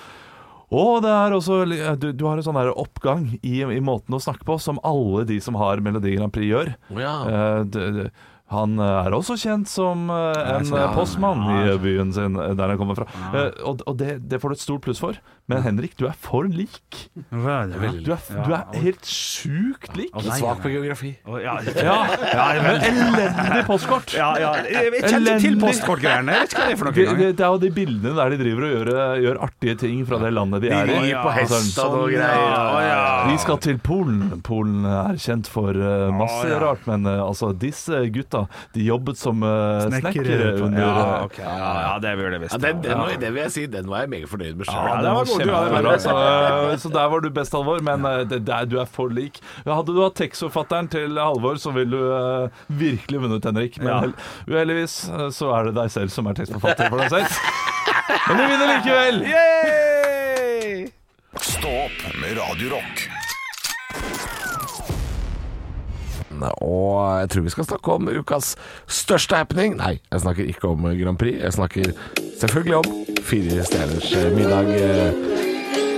Speaker 5: og det er også, li- eh, du, du har en sånn der oppgang i, i måten å snakke på som alle de som har Melodi Grand Prix gjør.
Speaker 4: Å ja.
Speaker 5: Eh, d- d- Han eh, er også kjent som eh, en
Speaker 3: så-
Speaker 5: eh, postmann i eh, byen sin, eh, der han kommer fra. Eh, Og, og det, det får du et stort pluss for. Men Henrik, du er for lik.
Speaker 3: Veldig.
Speaker 5: Du er, du er helt sjukt lik.
Speaker 3: Nei,
Speaker 4: Svak
Speaker 3: nei.
Speaker 4: på geografi.
Speaker 3: Å, Ja,
Speaker 5: Ja, men elendig postkort.
Speaker 3: ja, ja. Jeg jeg kjenner ikke til
Speaker 5: Elendig.
Speaker 3: postkortgreiene. Jeg vet ikke hva det er for noe.
Speaker 5: Det, det,
Speaker 3: engang.
Speaker 5: det er jo de bildene der de driver og gjør, eh, gjør artige ting fra det landet de,
Speaker 3: De
Speaker 5: er i.
Speaker 3: rir på hest
Speaker 5: Altså,
Speaker 4: sånn,
Speaker 3: og noe greier. Å, ja.
Speaker 5: Vi skal til Polen. Polen er kjent for eh, masse
Speaker 3: Å, ja.
Speaker 5: rart, men eh, altså, disse gutta de jobbet som eh,
Speaker 9: Snekkere.
Speaker 5: snekkere under eh,
Speaker 3: Ja, ok. ja, ja, det burde jeg visst.
Speaker 4: Ja, den, den, var- den vil jeg si, den var jeg meget fornøyd med sjøl.
Speaker 3: Ja, det var god, du hadde
Speaker 5: Kjempebra,
Speaker 3: vært
Speaker 5: så, eh, så der var du best, Halvor, men eh, det der, du er for lik. Ja, Hadde du hatt tekstforfatteren til Halvor, så ville du eh, virkelig vunnet, Henrik. Men
Speaker 3: Ja.
Speaker 5: hel- uheldigvis eh, så er det deg selv som er tekstforfatter for deg selv. sånn. Men du vinner likevel!
Speaker 1: Stå opp med Radio Rock.
Speaker 4: Og jeg tror vi skal snakke om ukas største happening. Nei, jeg snakker ikke om Grand Prix. Jeg snakker selvfølgelig om Fire stjerners eh, middag.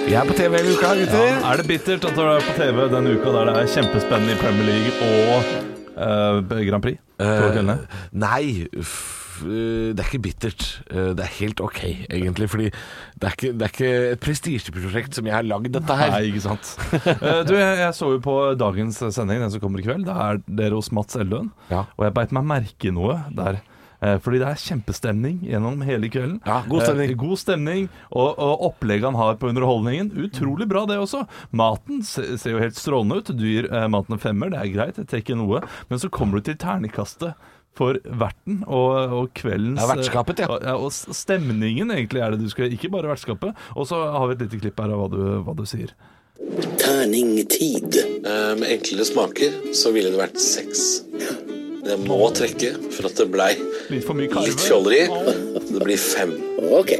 Speaker 4: Jeg er på TV hele uka, gutter.
Speaker 5: Er det bittert at du er på TV denne uka der det er kjempespennende i Premier League og eh, Grand Prix? på kveldene?
Speaker 4: Eh, Nei, f- eh, det er ikke bittert. Eh, Det er helt ok, egentlig. Fordi det er ikke, det er ikke et prestisjeprosjekt som jeg har lagd dette her.
Speaker 5: Nei, ikke sant. Eh, du, jeg, jeg så jo på dagens sending, den som kommer i kveld. Da er dere hos Mats Eldøen.
Speaker 4: Ja.
Speaker 5: Og jeg beit meg merke i noe der. Eh, Fordi det er kjempestemning gjennom hele kvelden.
Speaker 4: Ja, god stemning.
Speaker 5: Eh, god stemning og, og opplegget han har på underholdningen. Utrolig bra, det også. Maten se, ser jo helt strålende ut. Du gir eh, maten en femmer, det er greit, jeg trekker noe. Men så kommer du til ternekastet for verten og, og kveldens
Speaker 4: Ja, vertskapet, ja.
Speaker 5: eh, og- Og s- stemningen, egentlig, er det du skal Ikke bare vertskapet. Og så har vi et lite klipp her av hva du, hva du sier.
Speaker 10: Terningtid. Eh, med enklere smaker så ville det vært seks. Jeg må trekke for at det blei
Speaker 5: Litt for mye
Speaker 10: litt
Speaker 5: karve.
Speaker 10: fjolleri. Det blir fem. Ok.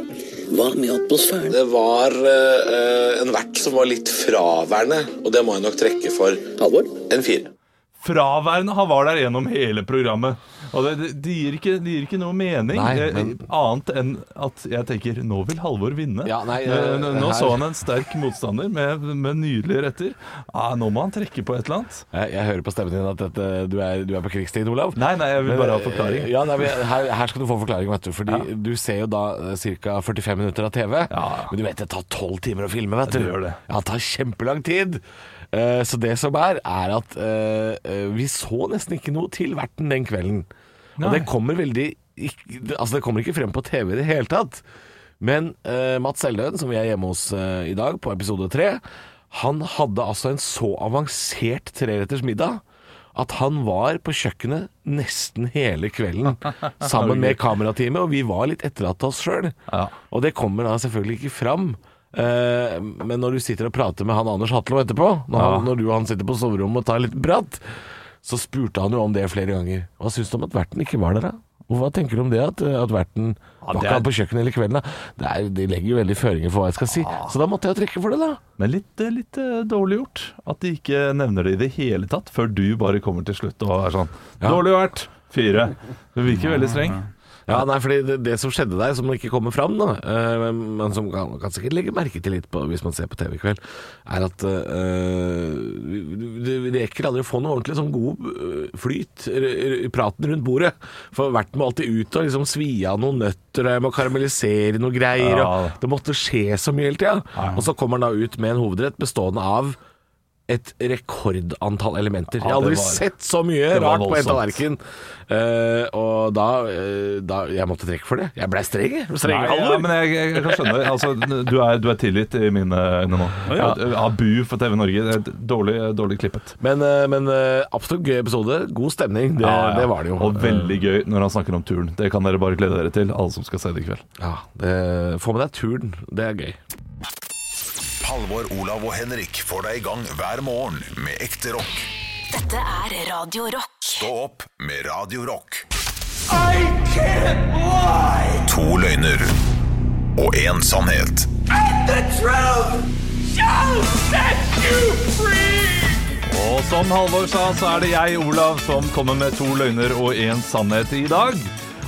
Speaker 10: Hva med atmosfæren? Det var eh, en vert som var litt fraværende, og det må jeg nok trekke for Halvor? en fire.
Speaker 5: Fraværende. Han var der gjennom hele programmet. Og det, det, det, gir, ikke, det gir ikke noe mening,
Speaker 4: Nei,
Speaker 5: eh,
Speaker 4: men-
Speaker 5: annet enn at jeg tenker nå vil Halvor vinne.
Speaker 4: Ja, nei, eh,
Speaker 5: Eh, nå nå
Speaker 4: her-
Speaker 5: så han en sterk motstander med, med nydelige retter. Ah, nå må han trekke på et eller annet.
Speaker 4: Jeg, jeg hører på stemmen din at dette, du, er, du er på krigstid, Olav.
Speaker 5: Nei, nei, jeg vil bare ha
Speaker 4: Men, eh,
Speaker 5: forklaring.
Speaker 4: Ja, nei, men her, her skal du få forklaring, vet du. Fordi du ser jo da ca. 45 minutter av TV.
Speaker 5: Ja.
Speaker 4: Men du vet det tar 12 timer å filme, vet du.
Speaker 5: det gjør det.
Speaker 4: Ja, det tar kjempelang tid. Eh, så det som er, er at eh, eh, vi så nesten ikke noe til verten den kvelden.
Speaker 5: Nei.
Speaker 4: Og det kommer veldig ikk- det- Altså, det kommer ikke frem på TV i det hele tatt. Men eh, Mats Eldøen, som vi er hjemme hos eh, i dag, på episode tre, han hadde altså en så avansert treretters middag at han var på kjøkkenet nesten hele kvelden sammen med kamerateamet, og vi var litt etterlatt oss sjøl.
Speaker 5: Ja.
Speaker 4: Og det kommer da selvfølgelig ikke fram. Eh, men når du sitter og prater med han Anders Hatlo etterpå, når, han, når du og han sitter på soverommet og tar litt prat, så spurte han jo om det flere ganger. Hva syns du om at verten ikke var der, da? Og hva tenker du om det, at, eh, at verten var
Speaker 5: det
Speaker 4: ikke
Speaker 5: er-
Speaker 4: han på kjøkkenet hele kvelden? da? Det er, de legger jo veldig føringer for hva jeg skal si, så da måtte jeg jo trekke for det, da.
Speaker 5: Men litt, eh, litt eh, dårlig gjort at de ikke nevner det i det hele tatt, før du bare kommer til slutt og er sånn Dårlig vært! Fire. Du virker veldig streng.
Speaker 4: Ja, nei, fordi det, det som skjedde der, som ikke kommer fram, da, eh, men, men som kan, kan sikkert legge merke til litt på, hvis man ser på TV i kveld, er at eh, du- du du rekker aldri å få noe ordentlig sånn god eh, flyt r- r- i praten rundt bordet. For verten må alltid ut og liksom svi av noen nøtter, og jeg må karamellisere noen greier.
Speaker 5: Ja.
Speaker 4: Og det måtte skje så mye hele tida. Og så kommer han da ut med en hovedrett bestående av et rekordantall elementer. Jeg har
Speaker 5: det
Speaker 4: aldri
Speaker 5: var-
Speaker 4: sett så mye
Speaker 5: det var
Speaker 4: rart på en
Speaker 5: voldsomt.
Speaker 4: tallerken. Eh, og da, eh, da Jeg måtte trekke for det. Jeg blei streng, jeg. Streng
Speaker 5: Nei,
Speaker 4: alvor.
Speaker 5: ja, men jeg, jeg, jeg kan skjønne det. Altså, du, er, du er tilgitt i mine øyne nå. Ja. bu for TV Norge. Det er Dårlig, dårlig klippet.
Speaker 4: men, eh, men, eh, absolutt gøy episode. God stemning, det,
Speaker 5: Ja, ja.
Speaker 4: det var det jo.
Speaker 5: Og veldig gøy når han snakker om turen. Det kan dere bare glede dere til, alle som skal se det i kveld.
Speaker 4: Eh, ja, det, Få med deg turen, det er gøy.
Speaker 1: Halvor, Olav og Henrik får deg i gang hver morgen med ekte rock.
Speaker 2: Dette er Radio Rock.
Speaker 1: Stå opp med Radio Rock. To løgner og én sannhet.
Speaker 5: Og som Halvor sa, så er det jeg, Olav, som kommer med to løgner og én sannhet i dag.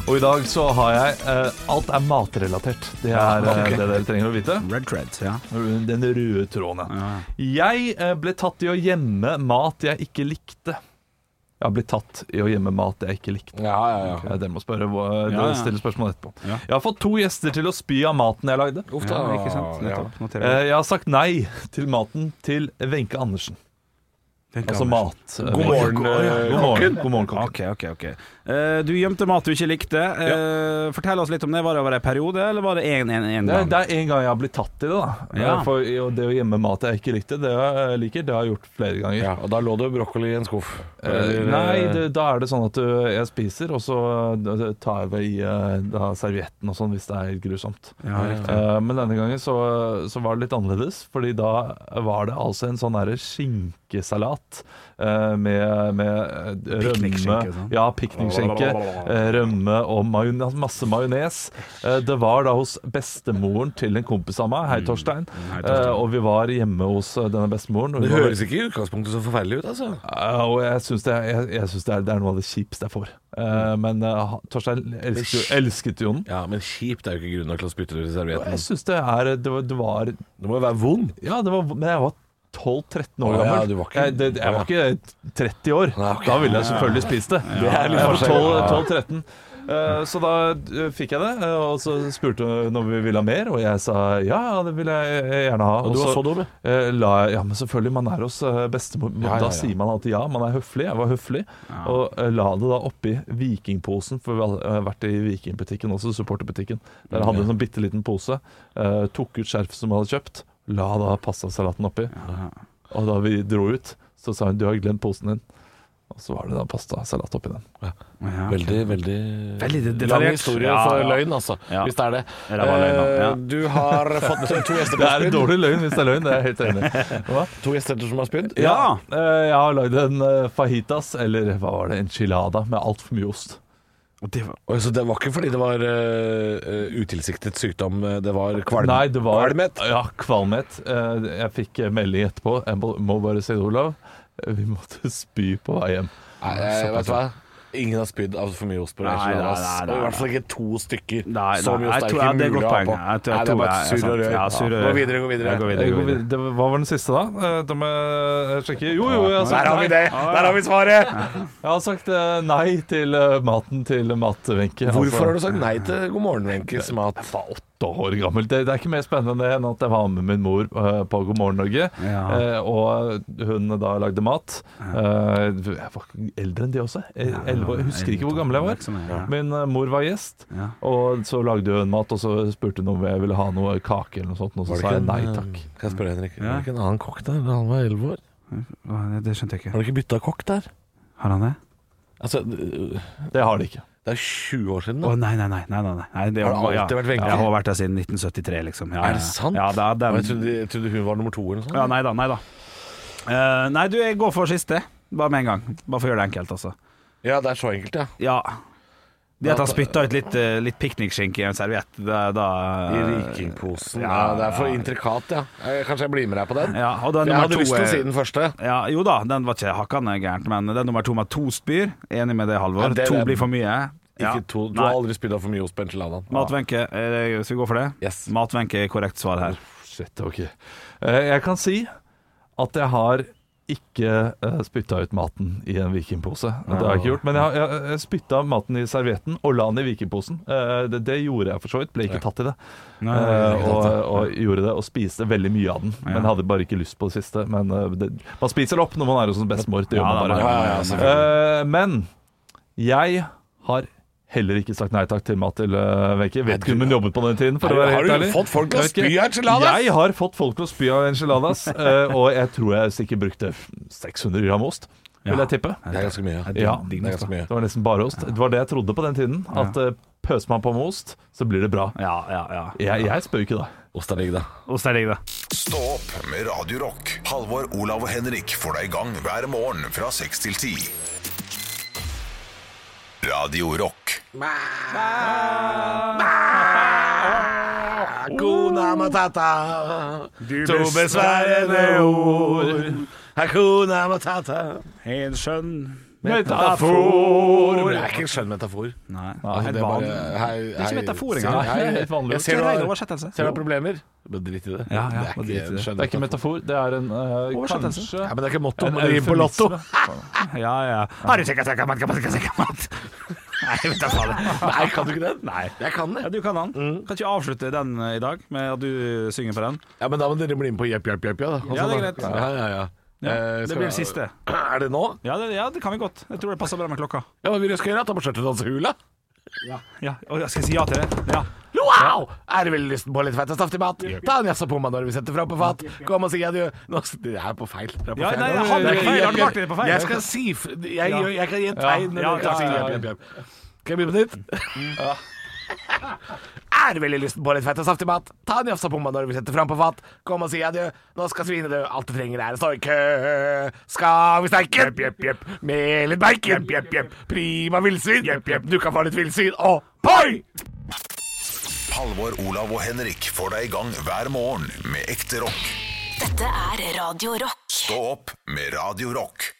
Speaker 5: Og i dag så har jeg eh, Alt er matrelatert. Det er eh, det dere trenger å vite.
Speaker 3: Red Creds, ja.
Speaker 5: Den røde tråden, ja. Jeg eh, ble tatt i å gjemme mat jeg ikke likte. Jeg har blitt tatt i å gjemme mat jeg ikke likte.
Speaker 4: Ja, ja, ja.
Speaker 5: Eh, Dere må spørre, hva,
Speaker 3: Ja, ja.
Speaker 5: dere stille spørsmål etterpå.
Speaker 3: Ja.
Speaker 5: Jeg har fått to gjester til å spy av maten jeg lagde.
Speaker 4: Uff
Speaker 3: Ja,
Speaker 4: da.
Speaker 3: ikke sant? Nettopp. Noterer jeg.
Speaker 5: Eh, Jeg har sagt nei til maten til Wenche Andersen.
Speaker 3: Tenk
Speaker 5: Altså
Speaker 3: Anders.
Speaker 5: mat.
Speaker 3: God morgen, eh,
Speaker 5: God morgen, God morgen kokken.
Speaker 3: Ok, ok, ok. Eh, du gjemte mat du ikke likte. Eh, Fortell oss litt om det. Var det over en periode, eller var det én, én, én
Speaker 5: Det,
Speaker 3: gang?
Speaker 5: det er en gang jeg har blitt tatt i det, da.
Speaker 3: Ja.
Speaker 5: Eh, For jo, det å gjemme mat jeg ikke likte, det jeg liker, det har jeg gjort flere ganger.
Speaker 4: Ja, og da lå det brokkoli i en skuff.
Speaker 5: Eh,
Speaker 4: Eller,
Speaker 5: nei,
Speaker 4: eh,
Speaker 5: det, da er det sånn at ø, jeg spiser, og så ø, tar jeg det i ø, da, servietten og sånn hvis det er helt grusomt.
Speaker 3: Ja, riktig.
Speaker 5: Eh, men denne gangen så, så var det litt annerledes, fordi da var det altså en sånn derre skinkesalat eh, med, med eh, rømme
Speaker 3: Piknikskinke, sånn.
Speaker 5: Ja, piknikskinke. eh, Rømme og majones, masse majones. Eh, det var da hos bestemoren til en kompis av meg, hei Torstein, Eh, og vi var hjemme hos eh, denne bestemoren. og
Speaker 4: det
Speaker 5: hun var
Speaker 4: høres ikke i utgangspunktet så forferdelig ut, altså.
Speaker 5: ja, og jeg syns det, er- jeg, jeg synes det, er- det er noe av det kjipeste jeg får. Eh,
Speaker 4: Mm.
Speaker 5: men eh, ha- Torstein elsket jo, elsket jo den.
Speaker 4: Ja, men kjipt er jo ikke grunn nok til å spytte det ut i
Speaker 5: Og Jeg
Speaker 4: servietten.
Speaker 5: syns det er det var, det var
Speaker 4: Det må jo være vond.
Speaker 5: Ja, det var, men jeg var 12-13 år
Speaker 4: Å, ja,
Speaker 5: gammel.
Speaker 4: du var ikke-
Speaker 5: jeg, det, jeg var ikke 30 år.
Speaker 4: Nei, ok.
Speaker 5: Da ville jeg selvfølgelig spist det.
Speaker 4: er litt
Speaker 5: Jeg var
Speaker 4: forskjell.
Speaker 5: 12 12-13. Eh, så da eh, fikk jeg det, eh, og så spurte hun om vi ville ha mer, og jeg sa ja, ja, det vil jeg eh, gjerne ha.
Speaker 4: Og du var sånn så dum, ja.
Speaker 5: Eh, La jeg, ja, men selvfølgelig, man er hos eh, bestemor.
Speaker 4: Ja, ja, ja.
Speaker 5: Da sier man alltid ja. Man er høflig. Jeg var høflig. Og eh, la det da oppi vikingposen, for vi har vært i vikingbutikken også, supporterbutikken. Der hadde en sånn bitte liten pose. eh, tok ut skjerfet som jeg hadde kjøpt. La da pastasalaten oppi. Og da vi dro ut, så sa hun 'du har glemt posen din'. Og så var det da pastasalat oppi den.
Speaker 3: Ja, ok.
Speaker 4: Veldig, veldig,
Speaker 3: Veldig detaljert.
Speaker 4: Lang historie
Speaker 3: Ja,
Speaker 4: for
Speaker 3: ja.
Speaker 4: løgn, altså.
Speaker 3: Ja.
Speaker 4: Hvis det er det.
Speaker 3: Ja, det var løgn, da. Ja.
Speaker 4: Eh, Du har fått to gjester,
Speaker 5: Det er en dårlig løgn hvis det er løgn, det er jeg helt enig i. Hva?
Speaker 4: to gjester som har spydd.
Speaker 3: Ja.
Speaker 5: eh, jeg har lagd en eh, fajitas, eller hva var det, enchilada, med altfor mye ost.
Speaker 3: Og det var
Speaker 4: Oi, så det var ikke fordi det var eh, utilsiktet sykdom, eh, det var kvalm.
Speaker 5: Nei, det var
Speaker 4: kvalmhet?
Speaker 5: Ja, kvalmhet. Eh, Jeg fikk melding etterpå. Jeg må- må bare si det, Olav. Eh, Vi måtte spy på vei hjem.
Speaker 4: Nei, jeg, vet du hva? Ingen har spydd av for mye ost på
Speaker 3: Nei,
Speaker 4: Reisjonas.
Speaker 3: nei, nei, nei,
Speaker 4: Og I
Speaker 3: nei.
Speaker 4: hvert fall ikke to stykker.
Speaker 3: Nei,
Speaker 4: så
Speaker 3: nei,
Speaker 4: mye
Speaker 3: jeg
Speaker 4: ost er
Speaker 3: tror-
Speaker 4: ikke
Speaker 3: ja, det er
Speaker 4: mulig
Speaker 3: godt
Speaker 4: å ha
Speaker 3: poeng.
Speaker 4: på.
Speaker 3: Jeg tror- jeg
Speaker 4: Nei, det er
Speaker 3: tror
Speaker 4: bare
Speaker 3: det er
Speaker 4: surr
Speaker 3: sant.
Speaker 4: og rør.
Speaker 3: Ja, surr og
Speaker 4: Gå
Speaker 3: rør.
Speaker 4: videre, gå videre.
Speaker 3: Jeg går videre.
Speaker 5: Jeg Eh, går videre. Det, hva var den siste, da? Eh, Da må jeg sjekke. Jo, jo, jeg har sagt
Speaker 4: Der har vi det!
Speaker 5: nei.
Speaker 4: Der har vi svaret!
Speaker 5: Jeg har sagt eh, nei til eh, maten til altså. Mat-Wenche.
Speaker 4: Hvorfor har du sagt nei til God morgen, Wenches mat?
Speaker 5: var åtte år gammel. Det, det er ikke mer spennende enn at jeg var med min mor eh, på God morgen Norge,
Speaker 3: Ja.
Speaker 5: eh, og hun da lagde mat. Eh, jeg var ikke eldre enn de også. Eh, Elleve år. Jeg husker ikke hvor gammel jeg var.
Speaker 3: Ja.
Speaker 5: Min eh, mor var gjest,
Speaker 3: Ja.
Speaker 5: og så lagde hun mat, og så spurte hun om jeg ville ha noe kake eller noe sånt, og så sa jeg nei
Speaker 3: eh,
Speaker 5: takk.
Speaker 4: Kan jeg spørre Henrik, var det ikke en annen kokk der da han var 11 år?
Speaker 3: Hva- det- Det skjønte jeg ikke.
Speaker 4: Har du ikke bytta kokk der?
Speaker 3: Har han det?
Speaker 4: Altså, det
Speaker 5: Det har de ikke.
Speaker 4: er 20 år siden,
Speaker 3: Å
Speaker 4: da.
Speaker 3: nei, nei, nei. nei, nei, nei. nei det,
Speaker 4: Har det alltid vært Wenche?
Speaker 3: Ja, jeg har vært der siden 1973, liksom. Ja, ja, ja.
Speaker 4: Er det sant?
Speaker 3: Ja, det er
Speaker 4: Og
Speaker 3: den.
Speaker 4: Jeg trodde, jeg trodde hun var nummer to eller noe sånt.
Speaker 3: Ja, nei da, nei da. Eh, nei, du, jeg går for siste. Bare med en gang. Bare for å gjøre det enkelt, altså.
Speaker 4: Ja, det er så enkelt, ja.
Speaker 3: Ja. Det at han spytta ut litt, eh, litt piknikskinke i en serviett, det- da eh,
Speaker 4: I rikingposen. Eh, Ja,
Speaker 3: ja,
Speaker 4: det er for intrikat, ja. Eh, Kanskje jeg blir med deg på den?
Speaker 3: Ja, og da
Speaker 4: For jeg
Speaker 3: nummer
Speaker 4: hadde
Speaker 3: to eh,
Speaker 4: lyst til å
Speaker 3: er-
Speaker 4: si den første.
Speaker 3: Ja, jo da, den var ikke hakkende gærent, men den nummer to med to spyr. Enig med det, Halvor.
Speaker 4: Ja, det-
Speaker 3: to
Speaker 4: det-
Speaker 3: blir for mye. Ja.
Speaker 4: Ikke to. Du
Speaker 3: Nei.
Speaker 4: har aldri spydda for mye ost på enchiladan.
Speaker 3: Matvenke, eh, skal vi gå for det?
Speaker 4: Yes.
Speaker 3: Matvenke er korrekt svar her.
Speaker 5: Shit, ok. Eh, jeg kan si at jeg har ikke uh, spytta ut maten i en vikingpose. Det har jeg ikke gjort. Men jeg, har- jeg, jeg spytta maten i servietten og la den i vikingposen. Eh, det, det gjorde jeg for så vidt. Ble ikke tatt i det. Eh, og, og gjorde det, og spiste veldig mye av den. Men hadde bare ikke lyst på det siste. Men eh, det, man spiser det opp når man er hos en bestemor. Det gjør
Speaker 3: Ja,
Speaker 5: man
Speaker 3: da,
Speaker 5: bare.
Speaker 3: ja, ja, ja,
Speaker 5: Eh, men jeg har heller ikke sagt nei takk til mat til uh, Wenche. Vet ikke om hun jobbet på den tiden. For å være
Speaker 4: Har
Speaker 5: helt
Speaker 4: du
Speaker 5: ærlig.
Speaker 4: fått folk til å
Speaker 5: Jeg vet ikke.
Speaker 4: spy av enchiladas?
Speaker 5: Jeg har fått folk til å spy av enchiladas, eh, og jeg tror jeg sikkert brukte 600 gram ost, vil jeg tippe.
Speaker 4: Det er ganske mye. Ja.
Speaker 5: Ja,
Speaker 4: Det er ganske mye.
Speaker 5: det var nesten bare ost. Det var det jeg trodde på den tiden. At eh, pøser man på med ost, så blir det bra.
Speaker 3: Ja, ja, ja.
Speaker 5: Jeg, jeg spør ikke da.
Speaker 4: Ost er digg, da.
Speaker 3: Ost er digg, det.
Speaker 1: Stå opp med Radio Rock. Halvor, Olav og Henrik får deg i gang hver morgen fra 6 til 10. Radio Rock.
Speaker 4: Hakuna matata, to besværende ord. Hakuna matata.
Speaker 3: En skjønn
Speaker 5: Metafor!
Speaker 4: Det er ikke en skjønn metafor.
Speaker 3: Nei.
Speaker 4: Altså,
Speaker 3: helt
Speaker 4: det er bare
Speaker 3: vanlig.
Speaker 4: hei,
Speaker 3: Det er ikke
Speaker 4: hei,
Speaker 3: metafor
Speaker 4: ser-
Speaker 3: engang.
Speaker 4: hei,
Speaker 5: Det er helt vanlig.
Speaker 4: Jeg ser du
Speaker 3: Ren
Speaker 4: har-
Speaker 3: oversettelse.
Speaker 4: ser du har problemer, men drit i det.
Speaker 3: Ja, ja,
Speaker 4: det
Speaker 3: bare
Speaker 4: er
Speaker 3: drit i
Speaker 4: ikke en
Speaker 3: det.
Speaker 4: skjønn
Speaker 5: Det er ikke
Speaker 4: metafor.
Speaker 5: metafor, det er en eh,
Speaker 3: Oversettelse.
Speaker 5: kanskje
Speaker 4: Ja, men det er ikke motto,
Speaker 5: en
Speaker 4: men det gir på lotto.
Speaker 5: eufemisme.
Speaker 3: Ja, ja. Har du sjekka sjekka mat, sjekka sjekka mat? Nei, vet du faen.
Speaker 4: Nei, kan du ikke den?
Speaker 3: Nei.
Speaker 4: Jeg kan
Speaker 3: Ja,
Speaker 4: det.
Speaker 3: du kan den. Kan ikke avslutte den eh, i dag med at du synger på den?
Speaker 4: Ja, Men da må dere bli med på Jepp, jepp, jepp. Ja, da.
Speaker 3: Ja, det er greit.
Speaker 4: Ja, ja, ja.
Speaker 3: Ja,
Speaker 4: Eh,
Speaker 3: det
Speaker 4: skal-
Speaker 3: blir det siste.
Speaker 4: Er det nå?
Speaker 3: Ja det, ja, det kan vi godt. Jeg tror det passer bra med klokka.
Speaker 4: Ja, Hva vil jeg skal gjøre? Ta på skjørtet og danse hula?
Speaker 3: Ja, og jeg skal si ja til det. Ja.
Speaker 4: Wow! Er det vel lysten på litt fett og saftig mat? Ta en jafs og pomma når vi setter fra på fat. Kom og si adjø. Nå, det er på feil. Det er på
Speaker 3: Ja,
Speaker 4: feil.
Speaker 3: nei, han er
Speaker 4: Det
Speaker 3: feil.
Speaker 4: jepp,
Speaker 3: Arne Martin er på feil.
Speaker 4: Jeg skal si f- Jeg,
Speaker 3: Ja.
Speaker 4: gjør- jeg kan gi et tegn. når
Speaker 3: Ja,
Speaker 4: dere kan si
Speaker 3: ja, ja,
Speaker 4: jepp, jepp, jepp. Skal jeg begynne på nytt? Er det veldig lysten på litt fett og saftig mat? Ta en jafs og pomma når vi setter fram på fat. Kom og si adjø. Nå skal svinet dø. Alt du trenger er å stå i kø. Skal vi steike? Jepp, jepp, jepp. Med litt bacon. Jepp, jepp, jepp. Prima villsvin. Jepp, jepp. Du kan få litt villsvin. Og poi!
Speaker 1: Halvor, Olav og Henrik får deg i gang hver morgen med ekte rock.
Speaker 2: Dette er Radio Rock.
Speaker 1: Stå opp med Radio Rock.